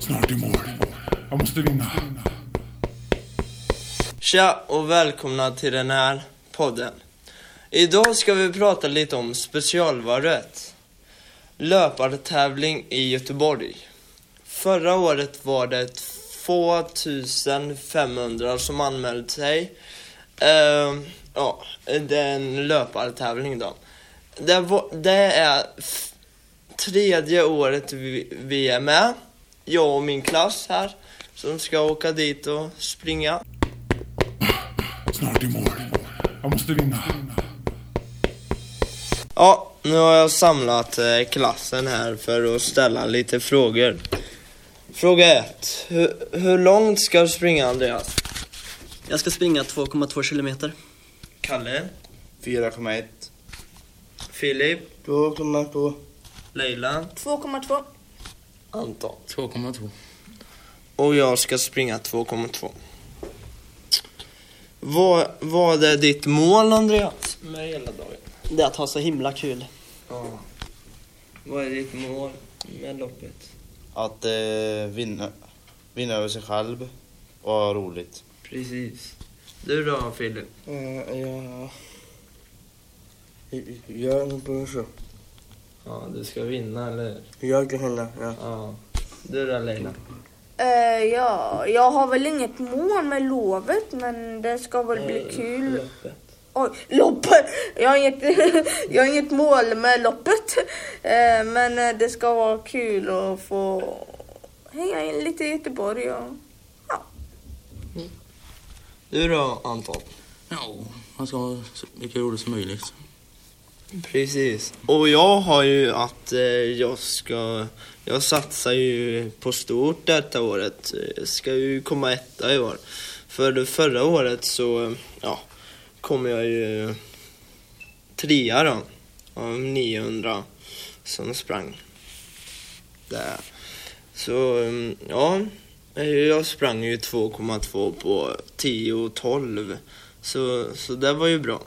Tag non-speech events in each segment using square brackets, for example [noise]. snart i mål. Jag måste vinna. Tja och välkomna till den här podden. Idag ska vi prata lite om specialvarvet. Löpartävling i Göteborg. Förra året var det 2500 som anmälde sig. Eh, ja, det är en löpartävling då. Det, var, det är f- tredje året vi, vi är med. Jag och min klass här som ska åka dit och springa. Snart i mål. Jag måste vinna. Ja, nu har jag samlat eh, klassen här för att ställa lite frågor. Fråga 1. Hur, hur långt ska du springa Andreas? Jag ska springa 2,2 kilometer. Kalle, 4,1. Filip, 2,2. Leila, 2,2. Anton. 2,2. Och jag ska springa 2,2. Vad, vad är ditt mål Andreas? Med hela dagen. Det är att ha så himla kul. Ja. Vad är ditt mål med loppet? Att eh, vinna, vinna över sig själv och ha roligt. Precis. Du då Filip? Eh, ja. Jag på så. Ja, du ska vinna eller Jag kan hälla. Ja. Ja. Du då Leila? Eh, ja, jag har väl inget mål med lovet, men det ska väl bli Eh. kul. Oj, loppet! Jag har inget, [laughs] jag har inget mål med loppet. Eh, men eh, det ska vara kul att få hänga in lite i Göteborg. Och... Du då Anton? Ja, man ska ha så mycket roligt som möjligt. Precis. Och jag har ju att eh, jag ska... Jag satsar ju på stort detta året. Jag ska ju komma etta i år. För det förra året så ja, kom jag ju trea då. Av 900 som sprang. Där. Så mm, ja, jag sprang ju 2,2 på 10 och 12. Så, så det var ju bra.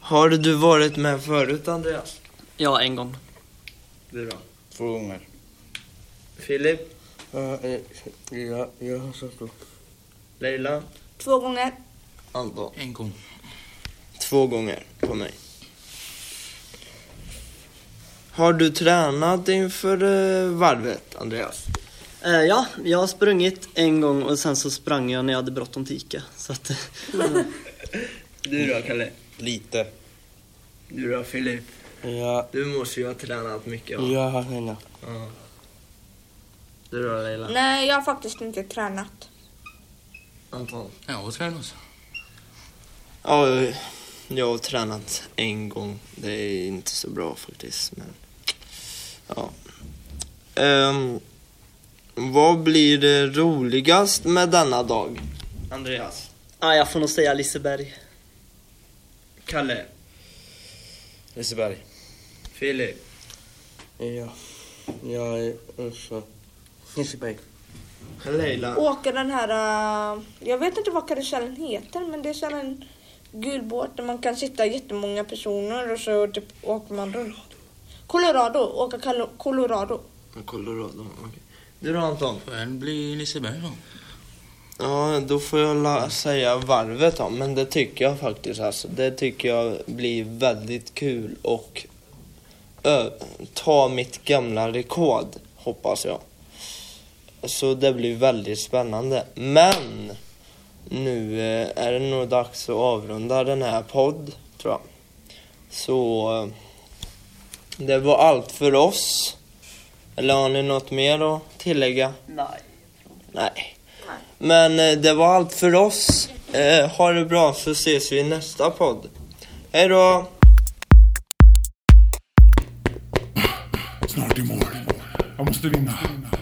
Har du varit med förut Andreas? Ja, en gång. Du då? Två gånger. Filip? eh, Ja, jag har satt upp. Leila? Två gånger. Anton? En gång. Två gånger på mig. Har du tränat inför eh, varvet Andreas? Eh, ja, jag har sprungit en gång och sen så sprang jag när jag hade bråttom till Ica. Så att, [laughs] eh, Du då Kalle? Lite. Du då Filip? Ja, Du måste ju ha tränat mycket va? jag har henne. Ja. Du då Leila? Nej, jag har faktiskt inte tränat. Anton? Ja, och tränas. Ja, jag- jag har tränat en gång. Det är inte så bra faktiskt, men... Ja. Ehm, vad blir det roligast med denna dag? Andreas. ah, jag får nog säga Liseberg. Kalle. Liseberg. Filip. Ja. eh, Jag är också. Liseberg. Leila. Åka den här... eh, jag vet inte vad karusellen heter, men det är så här en gul båt där man kan sitta jättemånga personer och så typ åker man runt. Colorado. Åka Colo- Colorado. Colorado. okej. Du då Anton? Det blir Liseberg då. Ja, då får jag la- säga varvet då. Men det tycker jag faktiskt alltså. Det tycker jag blir väldigt kul och ö, ta mitt gamla rekord, hoppas jag. Så det blir väldigt spännande. Men nu eh, är det nog dags att avrunda den här podd, tror jag. Så eh, det var allt för oss. Eller har ni något mer att tillägga? Nej. Nej. Men eh, det var allt för oss. Eh, ha det bra så ses vi i nästa podd. Hej då! Snart i mål. Jag måste vinna.